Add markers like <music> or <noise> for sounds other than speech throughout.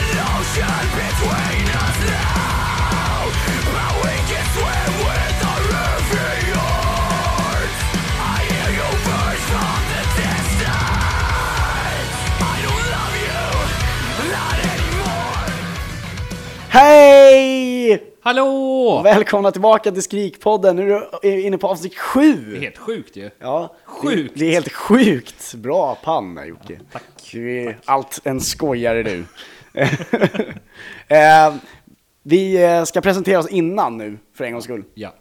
division between us now. But we can swim with the riviers. I hear you burst from the distance. I don't love you, not anymore. Hej! Hallå! Välkomna tillbaka till Skrikpodden. Nu är du inne på avsnitt Det är sju. helt sjukt ju. Ja, Sjukt. Det, det är helt sjukt. Bra panna Jocke. tack. Du är allt en skojare <laughs> du. eh, vi eh, ska presentera oss innan nu, för en gångs skull. Ja.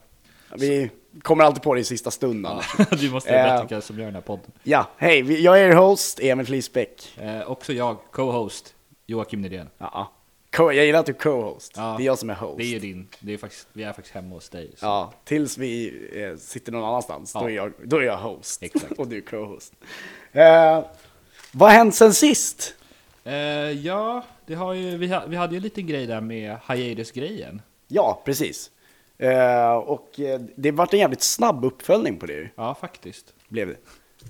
Vi kommer alltid på det i sista stund annars. <laughs> Du måste Eh. berätta vilka som gör den här podden. Ja, hej, vi- jag är er host, Emil Flisbäck. Eh, också jag, co-host, Joakim Nydén. Ja. Co- jag gillar att du är co-host. Ja. Det är jag som är host. Det är ju din, det är faktiskt, vi är faktiskt hemma hos dig. Så. Ja, tills vi eh, sitter någon annanstans, då, Ja. är jag, då är jag host Exakt. <laughs> och du är co-host. Eh, vad har hänt sen sist? Eh, ja, det har ju, vi, ha, vi hade ju en liten grej där med hiatus-grejen. Ja, precis. Eh, och eh, det vart en jävligt snabb uppföljning på det ju, Ja, faktiskt. blev det.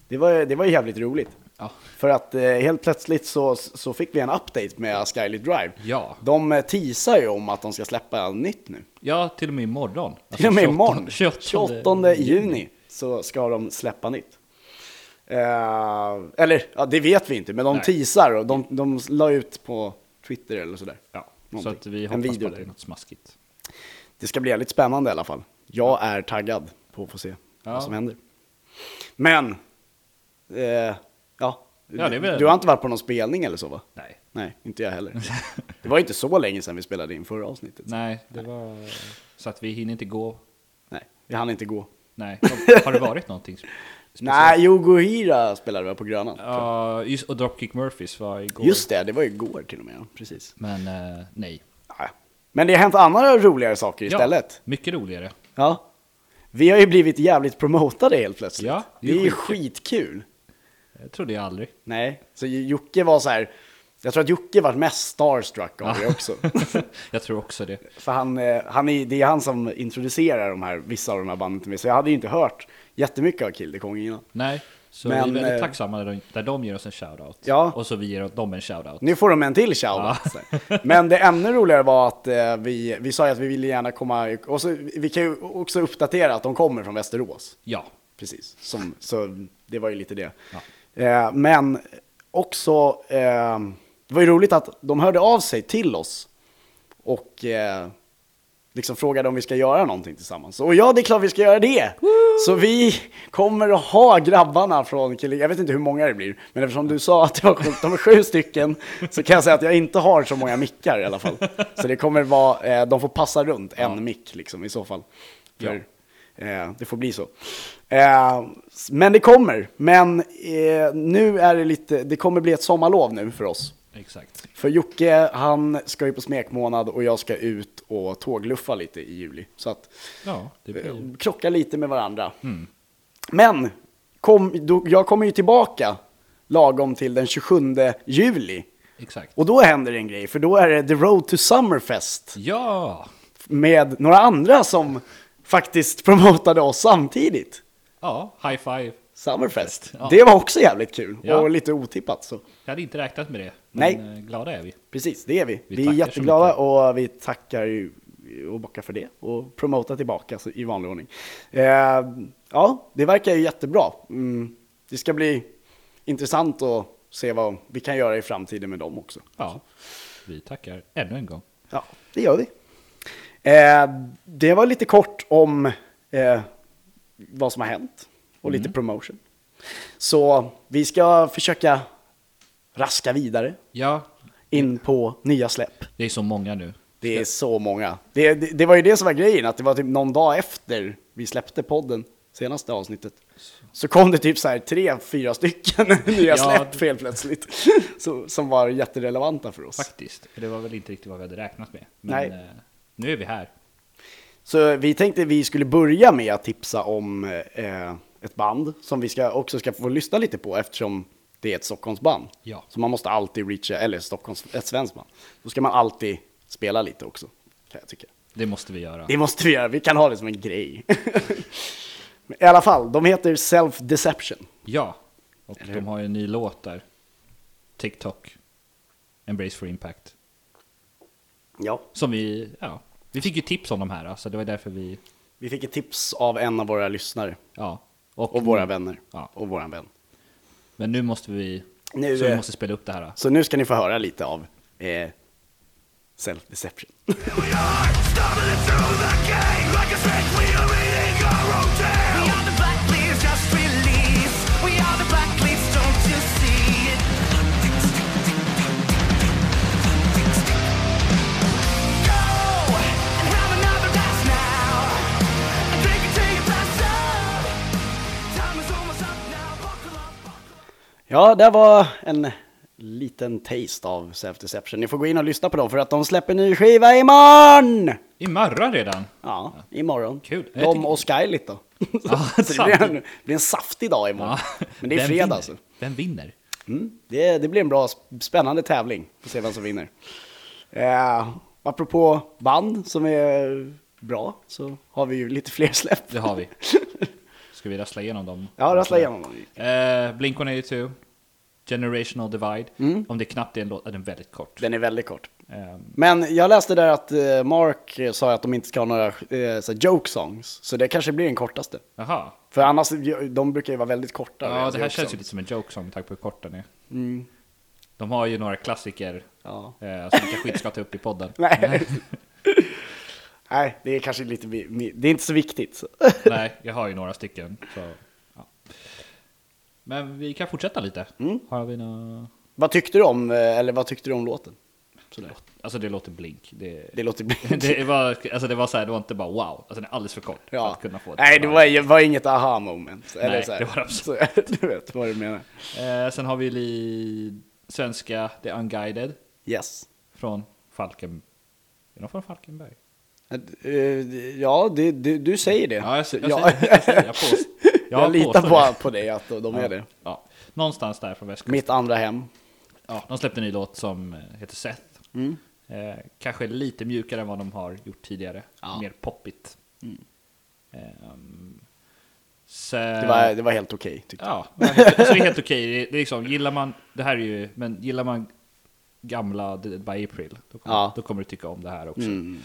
Det var, det var ju jävligt roligt. Ja. För att eh, helt plötsligt så, så fick vi en update med Skylit Drive. Ja. De eh, teasar ju om att de ska släppa nytt nu. ja, till och med imorgon. Alltså Till och med 28 imorgon, 28, 28 juni, så ska de släppa nytt. Eh, eller, ja, det vet vi inte, men de Nej. teasar och de, de la ut på Twitter eller sådär. Ja, så Någonting. att vi En hoppas video på att det är där. något smaskigt. Det ska bli jävligt spännande i alla fall. Jag är taggad på att få se Ja. vad som händer. Men, eh, ja, det är väl- du har inte varit på någon spelning eller så va? Nej. Nej, inte jag <laughs> heller. Det var ju inte så länge sedan vi spelade in förra avsnittet. Nej, det var... Så att vi hinner inte gå. Nej, vi hann inte gå. <laughs> Nej. Har- Har det varit någonting? spe- speciellt? Nej, Yogo Hira spelade vi på Grönan. tror jag. Ja, just, och Dropkick Murphys var igår. Just det, det var ju igår till och med. Ja. Precis. Men eh, nej. Ja. Men det har hänt andra roligare saker istället. Ja, mycket roligare. Ja. Vi har ju blivit jävligt promotade helt plötsligt. Ja, det är ju skitkul. Jag trodde jag aldrig. Nej, så Jocke var så här. Jag tror att Jocke var mest starstruck av det också. <laughs> <laughs> jag tror också det. För han, eh, han är, det är han som introducerar de här, vissa av de här banden till mig. Så jag hade ju inte hört jättemycket av Kill the Kong innan. Nej, så Men, vi är väldigt eh, tacksamma när de, där de ger oss en shoutout. Ja. Och så vi ger dem en shoutout. Nu får de en till shoutout. <laughs> Men det ännu roligare var att eh, vi, vi sa ju att vi ville gärna komma, och så, vi kan ju också uppdatera att de kommer från Västerås. Ja, Precis, som, så det var ju lite det. Eh, men också, eh, det var ju roligt att de hörde av sig till oss och eh, liksom frågade om vi ska göra någonting tillsammans. Och ja, det är klart vi ska göra det! Så vi kommer att ha grabbarna från Kille, jag vet inte hur många det blir, men eftersom du sa att det var, sjukt, de är sju stycken så kan jag säga att jag inte har så många mickar i alla fall. Så det kommer vara, eh, de får passa runt en mick liksom i så fall. För, Eh, det får bli så. Eh, s- men det kommer. Men eh, nu är det lite, det kommer bli ett sommarlov nu för oss. exakt. För Jocke, han ska ju på smekmånad och jag ska ut och tågluffa lite i juli. Så att, Ja, det eh, blir... Mm. krocka lite med varandra. Men, kom, då, jag kommer ju tillbaka lagom till den 27 juli. Exakt. Och då händer det en grej, för då är det The Road to Summerfest Ja! med några andra som faktiskt promotade oss samtidigt. Ja, high five. Summerfest. Ja. Det var också jävligt kul Ja. och lite otippat. Så. Jag hade inte räknat med det. Nej. Men eh, glada är vi. Precis, det är vi. Vi, Vi är tackar så jätteglada mycket. och vi tackar ju och bockar för det och promotar tillbaka så, i vanlig ordning. Eh, ja, det verkar ju jättebra. Mm, det ska bli intressant att se vad vi kan göra i framtiden med dem också. Ja, vi tackar ännu en gång. Ja, det gör vi. Eh, det var lite kort om eh, vad som har hänt och lite promotion. Så vi ska försöka raska vidare Ja, in på nya släpp. det är så många nu. Det är så många. Det, det, det var ju det som var grejen, att det var typ någon dag efter vi släppte podden, senaste avsnittet, så kom det typ så här tre, fyra stycken <laughs> nya Ja, släpp det- helt <laughs> plötsligt, så, som var jätterelevanta för oss. Faktiskt. För det var väl inte riktigt vad vi hade räknat med. Men Nej. eh, nu är vi här. Så vi tänkte vi skulle börja med att tipsa om eh, ett band som vi ska, också ska få lyssna lite på eftersom det är ett Stockholmsband. Ja. Så man måste alltid reacha, eller Stockholms, ett svenskt band. Då ska man alltid spela lite också, kan jag tycka. Det måste vi göra. Det måste vi göra, vi kan ha det som en grej. <laughs> Men I alla fall, de heter Self Deception. Ja, och Eller hur? de har ju en ny låt där. TikTok. Embrace for impact. Ja. Som vi, ja, vi fick ju tips om de här, så det var därför vi, Vi fick ett tips av en av våra lyssnare ja. och våra vänner Mm. Ja. och våran vän. Men nu måste vi, Nu, så vi eh, måste spela upp det här. Så nu ska ni få höra lite av eh, Self Deception. We are stumbling through the game like a snake. We are eating our own tail. We are the black please just release. We are the black please, don't you see it? Go and have another glass now. And drink it till you pass out. Time is almost up now. Buckle up, buckle up. Ja, det var en liten taste av Self Deception. Ni får gå in och lyssna på dem för att de släpper ny skiva imorgon! Imorgon redan! Ja, imorgon. Kul. Jag De tycker- och Skylit då. <laughs> Ja, så det blir en, sant. det blir en saftig dag imorgon. Men det är vem fredag vinner? alltså. Vem vinner? Mm, det, det blir en bra, sp- spännande tävling. Får se vem som vinner. Eh, apropå band som är bra så har vi ju lite fler släpp. Det har vi. Ska vi rassla igenom dem? <laughs> Ja, rassla igenom dem. Eh, Blink 182, Generational Divide. Mm. Om det knappt är en låt, är den väldigt kort. Den är väldigt kort. Eh, Men jag läste där att eh, Mark eh, sa att de inte ska ha några eh, så här joke songs, så det kanske blir den kortaste. Jaha. För annars, de brukar ju vara väldigt korta. liksom. Ja, deras det här joke känns ju songs. lite som en joke song med tanke på hur kort den är. De har ju några klassiker Ja. eh, som vi kanske inte ska ta upp i podden. <laughs> Nej. Nej, det är kanske lite, mi- mi- det är inte så viktigt. så. <laughs> Nej, jag har ju några stycken. Så, ja. Men vi kan fortsätta lite. Mm. Har vi några... vad tyckte du om, eh, eller vad tyckte du om låten? Sådär. Alltså det låter blink. Det, Det låter <laughs> det, var, alltså det var så här, det var inte bara wow. Alltså den är alldeles för kort <laughs> för Ja. att kunna få ett Nej, det wow. var, ju- var inget aha moment. Eller Nej, så här. det var det absolut Så, <laughs> du vet vad du menar. Eh, sen har vi li... svenska The Unguided Yes. från Falken... Är de från Falkenberg? Eh, Ja, det, det, du säger det. Ja, jag, ser- jag, Ja. ser- jag, ser- <laughs> jag, påst- <laughs> Jag, påstår litar det. på, på dig att de är det. Ja. Någonstans där från västkusten. Mitt andra hem. Ja, de släppte en ny låt som eh, heter Seth. Mm. Eh, kanske lite mjukare än vad de har gjort tidigare. Ja. Mm. Mer poppigt. Ehm, sen, Det var, det var helt okej. tyckte Eh. Ja, det var helt- alltså, det är helt okej. Det, det är liksom, gillar man, det här är ju, men gillar man gamla Dead by April, då kommer, Ja. då kommer du tycka om det här också. jag. Mm.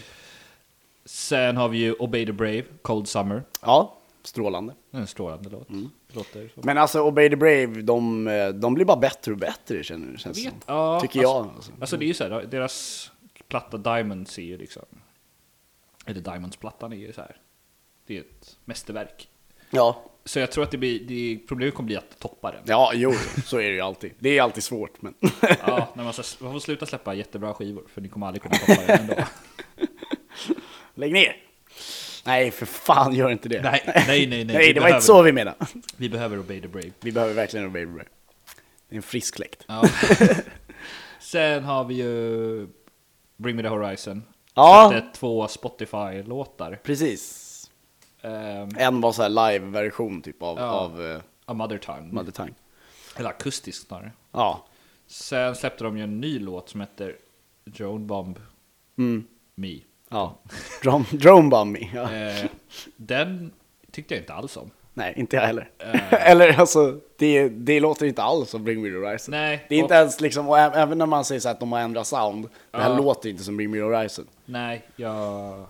Sen har vi ju Obey the Brave, Cold Summer. Ja, strålande. Det är En strålande låt. Mm. Det låter som... Men alltså Obey the Brave, de, eh, de blir bara bättre och bättre känner, känns det som. ja, Tycker alltså- jag. Alltså. Alltså det är ju så här, deras platta Diamonds är ju liksom, eller Diamonds-plattan är ju så här, det är ett mästerverk. Ja. Så jag tror att det blir, det, problemet kommer bli att toppa den. ja, jo, så är det ju alltid. Det är alltid svårt, men <laughs> Ja, när man, så, man får sluta släppa jättebra skivor, för ni kommer aldrig kunna toppa <laughs> den ändå. lägg ner! Nej, för fan, gör inte det. Nej, nej, nej, <laughs> nej, nej vi det var behöver- inte så vi menade. Vi behöver Obey the Brave. Vi behöver verkligen Obey the Brave. Det är en frisk fläkt. <laughs> Ja. Sen har vi ju Bring Me The Horizon. Ja. Släppte två Spotify-låtar. Precis. Ehm, En var så här live-version typ av, Ja. av eh, A Mother Tongue. Mother Tongue. Eller akustisk snarare. Ja, Sen släppte de ju en ny låt som heter Drone Bomb Me. Mm. ja. Drone, drone Bummy. Ja. Eh, den tyckte jag inte alls om. Nej, inte jag heller. <laughs> Eller alltså, det, det låter inte alls som Bring Me The Horizon. Nej, det är inte och- ens liksom, och ä- även när man säger så här att de har ändrat sound, det här Ja. låter inte som Bring Me The Horizon. Nej, jag,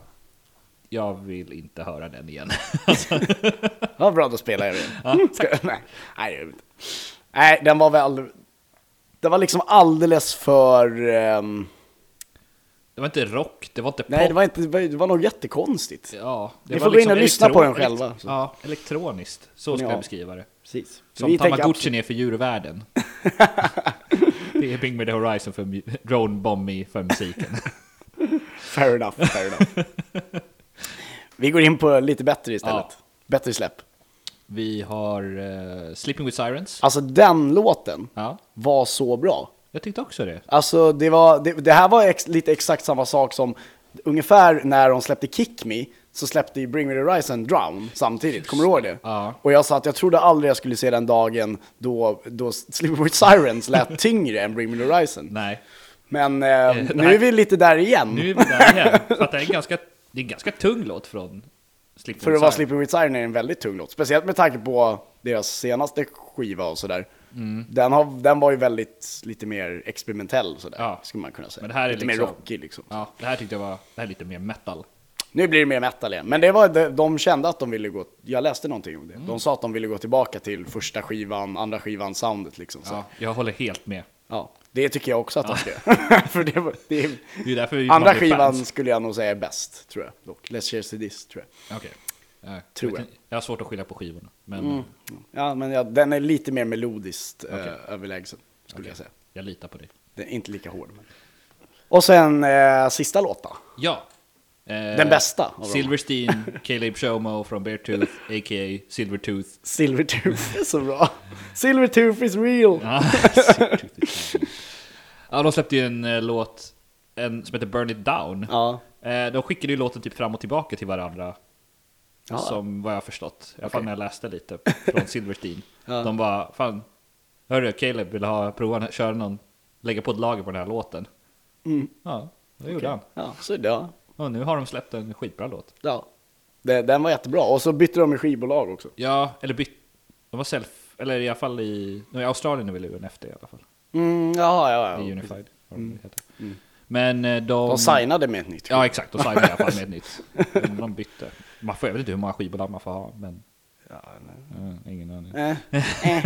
jag vill inte höra den igen. <laughs> Alltså, Ja, bra, då spelar <laughs> jag den. Ska- Nej, nej, jag vet inte. nej, den var väl... Den var liksom alldeles för... ehm, det var inte rock, det var inte pop. nej, det var, inte, det var- det var nog jättekonstigt. Ja, det Ni var får gå in och lyssna på den elektro- själva. Ja, elektroniskt. Så ska Ja. jag beskriva det. Precis. Som Vi tänker Tamagotchin är för djurvärlden. <laughs> det är Bring Me The Horizon för mu- Drone Bomb Me för musiken. Fair enough, fair <laughs> enough. Vi går in på lite bättre istället. Ja. Bättre släpp. Vi har eh, Sleeping With Sirens. Alltså den låten Ja, var så bra. jag tyckte också det. Alltså det, var, det, det här var ex, lite exakt samma sak som ungefär när de släppte Kick Me så släppte ju Bring Me The Horizon Drown samtidigt, kommer du ihåg det? Ja. Och jag sa att jag trodde aldrig jag skulle se den dagen då, då Sleeping With Sirens lät tyngre än Bring Me The Horizon. Nej, Men eh, det nu här- är vi lite där igen. nu är vi där igen. För att det är en ganska, det är en ganska tung låt från Sleeping För With att vara Sirens. Sleeping With Siren är en väldigt tung låt, speciellt med tanke på deras senaste skiva och sådär. Mm. Den, har, den var ju väldigt lite mer experimentell sådär, Ja. skulle man kunna säga. Men det här är lite liksom- mer rockig liksom. Ja, det här tyckte jag var det här är lite mer metal. Nu blir det mer metal igen. Men det var, de, de kände att de ville gå, jag läste någonting om det. Mm. De sa att de ville gå tillbaka till första skivan, andra skivan, soundet liksom. Så. Ja, Ja. jag håller helt med. Det tycker jag också att de ska <laughs> För det, var- det, är- Det är därför man Andra blir skivan fans. skulle jag nog säga är bäst, tror jag. Dock. Let's Cheers to this, tror jag. Okej. Eh, Tror vet jag. Mm. inte- Jag har svårt att skilja på skivorna. Men Ja, men ja, den är lite mer melodiskt eh, överlägsen, skulle jag säga. jag litar på dig. Den är inte lika hård. Men... Och sen eh, sista låta. Ja. Eh, Den bästa av dem. Silverstein, Caleb Shomo från Beartooth, a.k.a. Silvertooth. Silvertooth är så bra. Silvertooth is real. Ja, Silvertooth är kul. ja, de släppte ju en eh, låt en, som heter Burn It Down. Ja. Eh, de skickade ju låten typ fram och tillbaka till varandra. Ja. Som vad jag har förstått. I alla fall Okej. när jag läste lite <laughs> från Silverstein. De bara, fan, hörru Caleb vill ha prova köra någon, lägga på ett lager på den här låten. Mm. Ja, det gjorde han. Ja, så det. Ja. Och nu har de släppt en skitbra låt. Ja. Det, den var jättebra. Och så bytte de i skivbolag också. Ja, eller bytt. De var self, eller i alla fall i, de är i Australien är väl UNFD i alla fall. Mm, ja, I ja, ja. Unified. vad de heter. Men eh, de... De signade med ett nytt Ja exakt, de signade i alla fall med <laughs> ett nytt. Men De bytte. Man får, jag vet inte hur många skivbolag man får ha, men... Eh, ingen aning. Eh,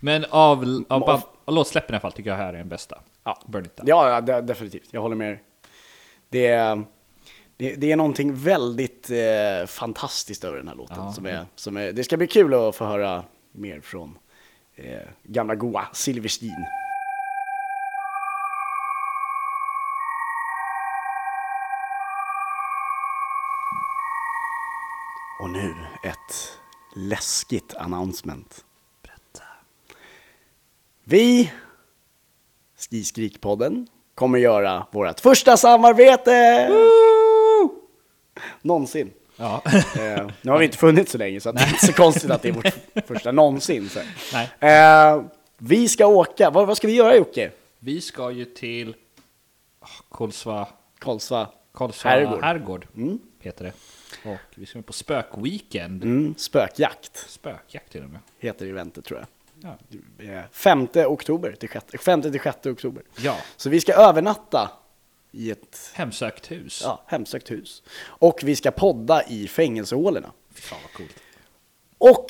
Men av, av, Av- av, av låtsläppen i alla fall tycker jag här är den bästa. Ja. Burn it down. Ja, ja de, definitivt. Jag håller med er. det, är- det, det är någonting väldigt eh, fantastiskt över den här låten. Ja. Som är, som är, det ska bli kul att få höra mer från eh, gamla goa Silverstein. Och nu ett läskigt announcement. Vi, Skiskrikpodden, kommer göra vårt första samarbete! Någonsin. Ja. <laughs> Eh, nu har vi inte funnits så länge så att det är inte så konstigt att det är vårt första någonsin. Så. Nej. Eh, vi ska åka, vad, vad ska vi göra Jocke? Vi ska ju till ah, Kolsva, Karlsva Kolsva herrgård. herrgård, heter det. Och vi ska med på spökweekend. Mm, spökjakt Spökjakt till och med. heter eventet tror jag. Ja. Eh, 5 oktober till 6, 5 till 6 oktober. Ja. Så vi ska övernatta i ett Hemsökt hus. ja, hemsökt hus. Och vi ska podda i fängelsehålorna. Fy fan vad coolt. Och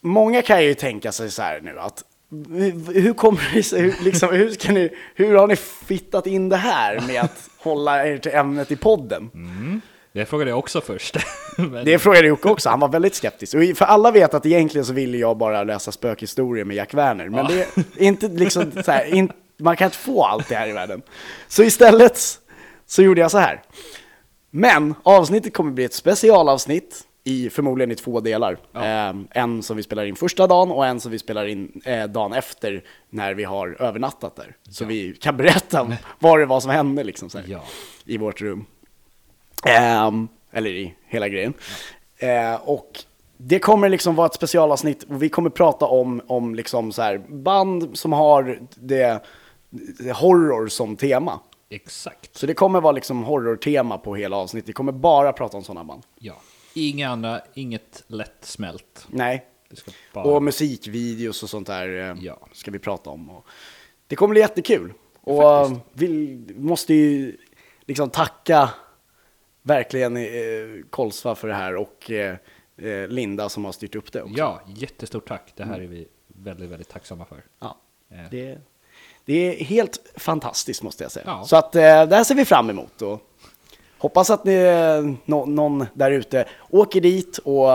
många kan ju tänka sig så här nu att hur- hur kommer det sig, hur, liksom, hur, ska ni, hur har ni fittat in det här med att hålla er till ämnet i podden? Det frågade jag också först. <laughs> Men, Det frågade Jocke också, han var väldigt skeptisk. Och för alla vet att egentligen så ville jag bara läsa spökhistorier med Jack Werner, men det är inte liksom så här, in, man kan inte få allt det här i världen. Så istället så gjorde jag så här. Men avsnittet kommer bli ett specialavsnitt i förmodligen i två delar. Eh, en som vi spelar in första dagen och en som vi spelar in eh, dagen efter när vi har övernattat där. Så vi kan berätta om vad det var som hände liksom så här, Ja. i vårt rum. Ehm, eller i hela grejen. Eh, och det kommer liksom vara ett specialavsnitt och vi kommer prata om, om liksom så här band som har det, det horror som tema. Exakt. Så det kommer vara liksom horrortema på hela avsnittet. Vi kommer bara prata om sådana band. Ja. Inga andra, inget lätt smält. Nej. Det ska bara... Och musikvideos och sånt där eh, Ja. ska vi prata om. Och det kommer bli jättekul. Och eh, Faktiskt. vi måste ju liksom tacka verkligen eh, Kolsva för det här och eh, eh, Linda som har styrt upp det också. Ja, jättestort tack. Det här är vi väldigt, väldigt tacksamma för. Ja. Eh. Det, det är helt fantastiskt måste jag säga. Ja. Så att eh, det här ser vi fram emot. Och hoppas att ni, eh, nå- någon där ute åker dit och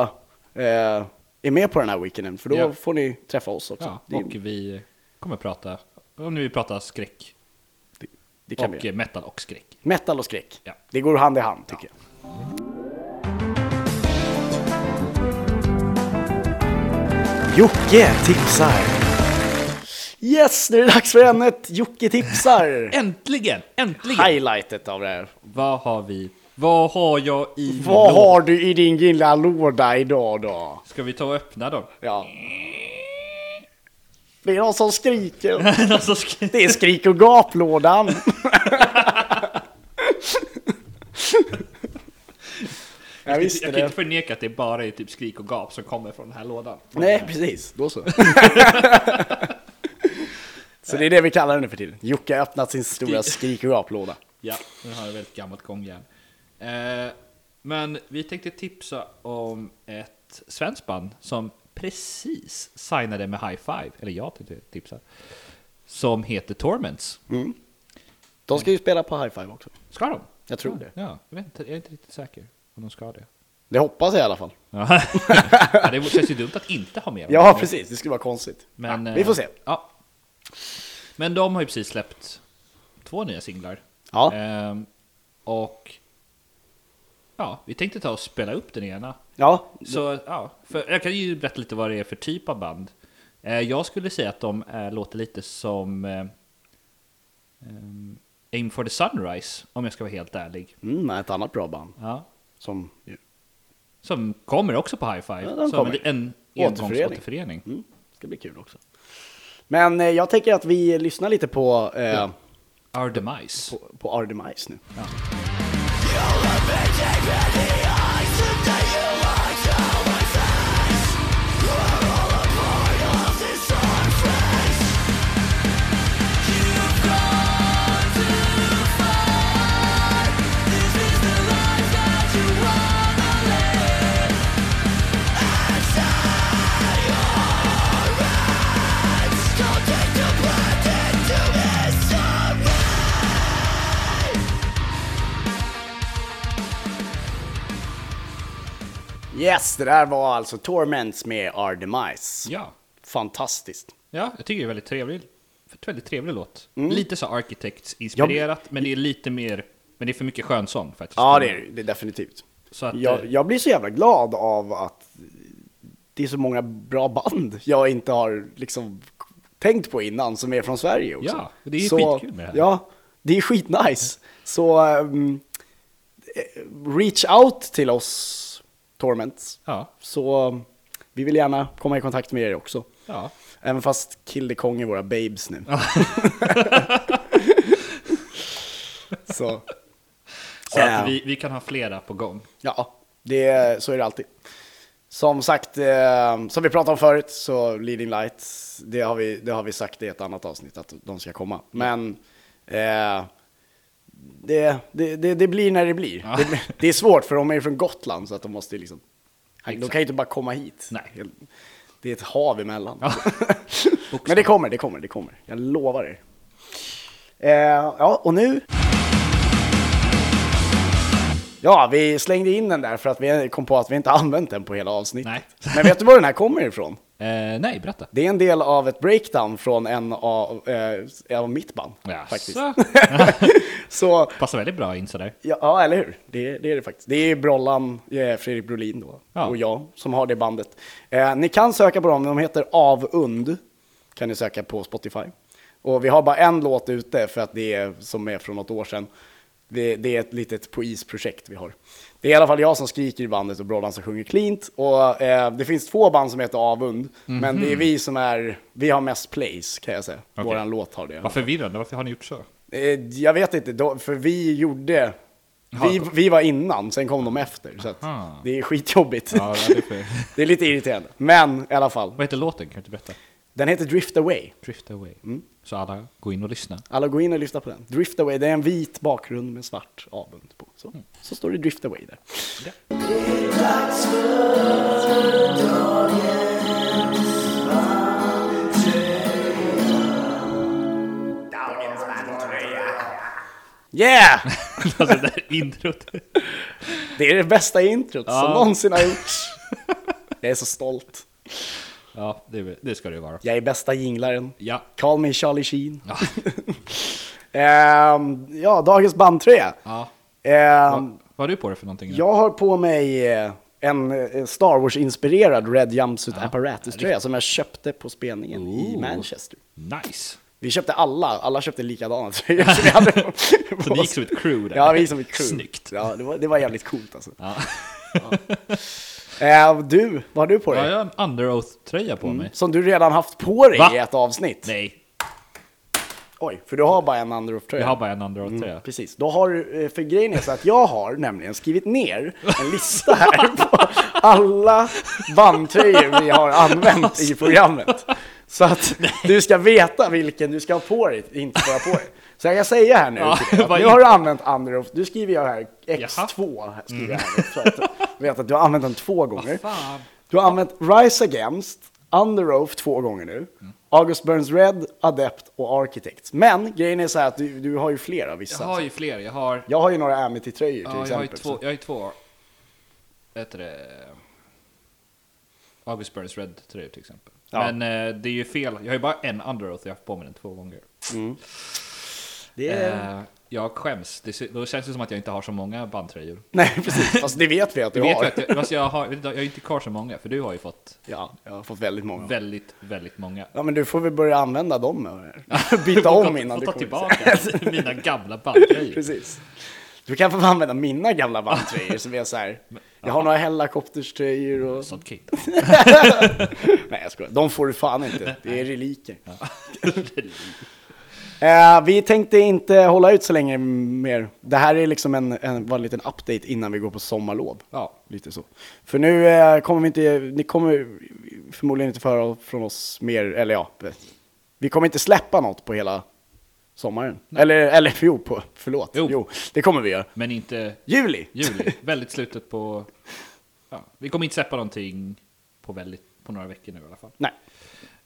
eh, är med på den här weekenden. För då Ja. får ni träffa oss också. Ja, det, och vi kommer prata, om nu vi pratar skräck det, det kan vi och göra. metal och skräck. Metal och skräck. Ja. Det går hand i hand tycker jag. Jocke tipsar. Yes, nu är det dags för ämnet Jocke tipsar. Äntligen! Äntligen! Highlightet av det här. Vad har vi? Vad har jag i min Vad låda? har du i din lilla låda idag då? Ska vi ta och <laughs> öppna dem? Ja. Det är någon som <laughs> skriker. alltså, ska... Det är skrik och gaplådan. Jag visste jag kan det. inte förneka att det bara är typ skrik och gap som kommer från den här lådan. Nej, precis. Då så. <laughs> Så det är det vi kallar den nu för tiden. Jocke har öppnat sin stora skrik och gaplåda. Ja, den har ett väldigt gammalt gångjärn. Eh, men vi tänkte tipsa om ett svenskt band som precis signade med High Five, eller jag tänkte tipsa, som heter Torments. De ska ju spela på High Five också. Ska de? Jag tror ja, det. Ja, jag, vet inte, jag är inte riktigt säker om de ska det. Det hoppas jag i alla fall. Ja. <laughs> det känns ju dumt att inte ha med dem. Ja, precis. Det skulle vara konstigt. Men, ja, eh, vi får se. Ja. Men de har ju precis släppt två nya singlar. Ja. Ehm, och ja, vi tänkte ta och spela upp den ena. Ja, Så ja, för jag kan ju berätta lite vad det är för typ av band. Eh, jag skulle säga att de eh, låter lite som eh, ehm, Aim for the Sunrise, om jag ska vara helt ärlig. mm, ett annat bra band. Ja. Som, Som kommer också på High Five. Ja, den som kommer. en Återförening. engångsåterförening. mm, ska bli kul också. Men eh, jag tänker att vi lyssnar lite på, eh, Our Demise. på, på Our Demise nu. Yes, det där var alltså Torments med Our Demise. Ja. Fantastiskt. Ja, jag tycker det är väldigt trevlig. ett Väldigt trevlig låt. Mm. Lite så Architects-inspirerat, men det är lite mer... Men det är för mycket skönsång faktiskt. Ja, det är det är definitivt. Så att, jag, eh, jag blir så jävla glad av att det är så många bra band jag inte har liksom tänkt på innan som är från Sverige också. Ja, och det är ju skitkul med det här. Ja, det är skitnice. Så ehm, eh, reach out till oss, Torment. Ja, Så um, vi vill gärna komma i kontakt med er också. <laughs> ja. Även fast Kill the Kong är våra babes nu. så Så Ja. att vi, vi kan ha flera på gång. Ja, det, så är det alltid. Som sagt, eh, som vi pratade om förut, så Leading Lights, det har vi, det har vi sagt i ett annat avsnitt att de ska komma. Men eh, det, det, det, det blir när det blir. Ja. Det, blir- det är svårt för de är ju från Gotland så att de måste ju liksom, de Exakt. kan ju inte bara komma hit. Nej. Det är ett hav emellan. Ja. <laughs> Men det kommer, det kommer, det kommer. Jag lovar er. Eh, ja, och nu Ja, vi slängde in den där för att vi kom på att vi inte <laughs> använt den på hela avsnittet. Nej. <laughs> Men vet du var den här kommer ifrån? Eh, nej, berätta. Det är en del av ett breakdown från en av, eh, av mitt band. Faktiskt. Jaså? Så, Passar väldigt bra in sådär. ja, ja, eller hur? Det, det är det faktiskt. Det är Brollan, eh, Fredrik Brolin då, Ja. och jag som har det bandet. Eh, ni kan söka på dem, de heter Avund. Kan ni söka på Spotify. Och vi har bara en låt ute för att det är som är från något år sedan. Det, det är ett litet på isprojekt vi har. Det är i alla fall jag som skriker i bandet och Brollan som sjunger cleant. Och eh, det finns två band som heter Avund, men det är vi som är, vi har mest plays kan jag säga. Mhm. Okej. Våran låt har det. Vad förvirrande, varför har ni gjort så? Eh, Jag vet inte, då- för vi gjorde... Vi, vi var innan, sen kom de efter. Så att Aha. det är skitjobbigt. Ja, det är för... <laughs> Det är lite irriterande. Men i alla fall, Vad heter låten? Kan du inte berätta? den heter Drift Away. Drift Away. Mm. Så alla går in <laughs> och lyssnar. Alla går in och lyssnar på den. Drift Away, det är en vit bakgrund med svart avund på. Så, Mm. så står det Drift Away där. Yeah! alltså det där introt. Det är det bästa introt som Ja. någonsin har <laughs> gjorts. Jag är så stolt. Ja, det, är- det ska det ju vara. Jag är bästa jinglaren. Ja. Call me Charlie Sheen. <laughs> Ehm, ja, dagens bandtröja. ja. Ehm, Vad, vad har du på dig för någonting? nu? jag har på mig eh, en eh, Star Wars-inspirerad Red Jumpsuit Apparatus-tröja som jag köpte på spelningen i Ooh. Manchester. Nice! Vi köpte alla, alla köpte likadana tröjor. Så, vi hade på <laughs> Så ni gick oss. som ett crew där? Ja, vi gick som ett crew. Snyggt! Ja, det, var, det var jävligt coolt alltså. Ja. Ehm, du, vad har du på dig? Ja, jag Mm. har en Under Oath-tröja på mig. Som du redan haft på dig Va? i ett avsnitt. Nej, Oj, för du har bara en Underoff-tröja. jag har bara en Under Oath-tröja. Precis, då har du, eh, för grejen är så att jag har nämligen skrivit ner en lista <laughs> här på alla bandtröjor vi har använt i programmet. Så att du ska veta vilken du ska ha på dig, inte bara på dig. Så jag kan säga här nu, Ja, till dig, att vad nu i- har du använt Underoff, du skriver jag här X2, Jaha. Mm. skriver jag här nu, så att du vet att du har använt den två gånger. fan. Du har använt Rise Against, Underoath två gånger nu, August Burns Red, Adept och Architects. Men grejen är så här att du, du har ju flera vissa. Jag har ju fler, jag har... Jag har ju några Amity-tröjor till Ja, jag har ju exempel. två, så- jag har ju två heter det, August Burns Red tröjor till exempel. Ja. Men eh, det är ju fel, jag har ju bara en Underoath jag har haft på mig den två gånger. Det är... Eh, jag skäms, det, ser- då känns det som att jag inte har så många bandtröjor. Nej, precis. Fast det vet vi att du Du vet har. ju att jag, alltså jag, har, jag har ju inte kvar så många, för du har ju fått Ja, jag har fått väldigt många. väldigt, väldigt många. Ja men du får väl börja använda dem nu. <laughs> Byta om innan du du <laughs> får ta kommer tillbaka <laughs> mina gamla <laughs> <laughs> bandtröjor. Precis. Du kan få använda mina gamla bandtröjor som är så här. Jag har några Hellacopters-tröjor och... Sånt kick. Nej jag skojar, de får du fan inte. Det är reliker. <laughs> Eh, vi tänkte inte hålla ut så länge mer. Det här är liksom en, en, var en liten update innan vi går på sommarlov. Ja. Lite så. För nu eh, kommer vi inte, ni kommer förmodligen inte få höra från oss mer, eller ja, vi kommer inte släppa något på hela sommaren. Eller, eller <laughs> jo, på, förlåt. Jo. det kommer vi göra. Men inte Juli! juli. Väldigt slutet på... Ja, vi kommer inte släppa någonting på, väldigt, på några veckor nu i alla fall. <laughs> Nej.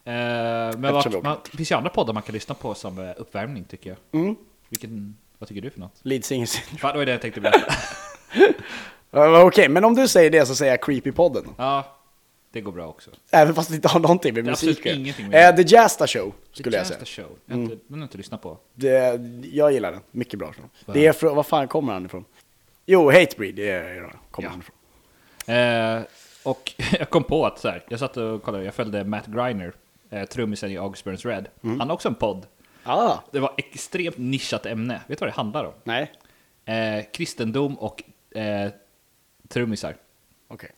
Eh, men Eftersom vart, vi åker man, det finns ju andra poddar man kan lyssna på som eh, uppvärmning tycker jag. Mm. Vilken, vad tycker du för något? Lead Singer Syndrome. Fan, det var det jag tänkte berätta. Ja, Okej, men om du säger det så säger jag Creepypodden. ja, det går bra också. Även fast det inte har någonting med Det är absolut musiken. ingenting med eh, The Jasta Show skulle jag The säga. Mm. Jasta Show. Jag har inte, den har jag inte lyssnat på. Det, jag gillar den, mycket bra. Det är från, var fan kommer han ifrån? Jo, Hatebreed det är, kommer Ja. han ifrån. Eh, och <laughs> jag kom på att så här, jag satt och kollade, jag följde Matt Griner, eh, trummisen i August Burns Red. Mm. Han har också en podd. Ah, Det var extremt nischat ämne. Vet du vad det handlar om? nej, Eh, kristendom och eh, trummisar. <laughs> okej.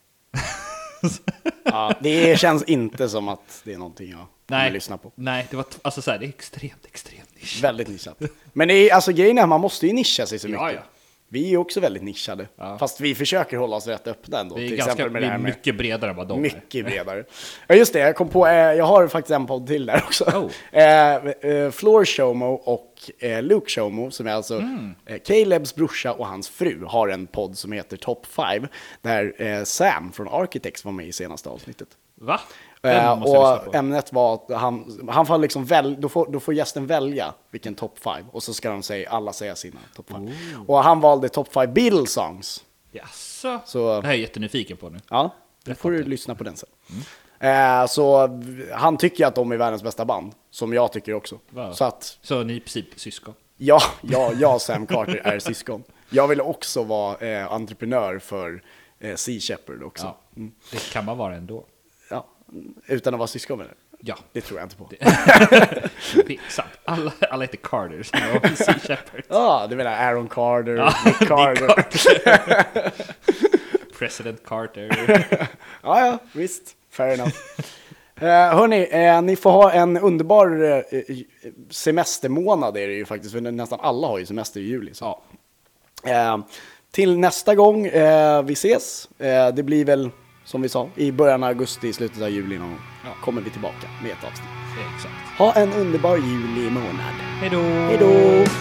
ja, det känns inte som att det är någonting jag Nej, vill lyssna på. nej, det var t- alltså så här, det är extremt, extremt nischat. Väldigt nischat. Men det är, alltså, grejen är att man måste ju nischa sig så mycket. Ja, ja. Vi är också väldigt nischade. Ja. Fast vi försöker hålla oss rätt öppna ändå. Vi är, till ganska, exempel med vi det här är med mycket bredare än vad de är. Mycket bredare. Ja just det, jag kom på, eh, jag har faktiskt en podd till där också. Oh. <laughs> Eh, eh, Floor Showmo och eh, Luke Showmo, som är alltså Mm. eh, Calebs brorsa och hans fru, har en podd som heter Top 5, där eh, Sam från Architects var med i senaste avsnittet. Va? Eh, Den måste jag lyssna och på. ämnet var att han, han får liksom väl, då, får, då får gästen välja vilken top 5 och så ska de säga, alla säga sina top 5. Oh. Och han valde top 5 Beatles songs. Jaså? Så- Det här är jag jättenyfiken på nu. Ja, då får du lyssna på den sen. Eh, så v- han tycker ju att de är världens bästa band, som jag tycker också. Va? Så att, Så ni är i princip syskon? ja, ja, jag och Sam Carter är syskon. Jag vill också vara eh, entreprenör för eh, Sea Shepherd också. Ja. Det kan man vara ändå. Ja, mm, utan att vara syskon med det. Ja, Det tror jag inte på. tveksamt. Alla, alla heter Carter, så jag var Sea Shepherd. Ja, du menar Aaron Carter, Nick <laughs> Carter. President Carter. <laughs> Ja, ja, visst. Fair enough. <laughs> Eh, hörni, eh, ni får ha en underbar eh, eh, semestermånad är det ju faktiskt, för nästan alla har ju semester i juli. Så. Ja. Eh, till nästa gång eh, vi ses, eh, det blir väl som vi sa, i början av augusti, i slutet av juli någon gång, Ja. kommer vi tillbaka med ett avsnitt. Exakt. Ha en underbar juli månad. Hej då! Hej då!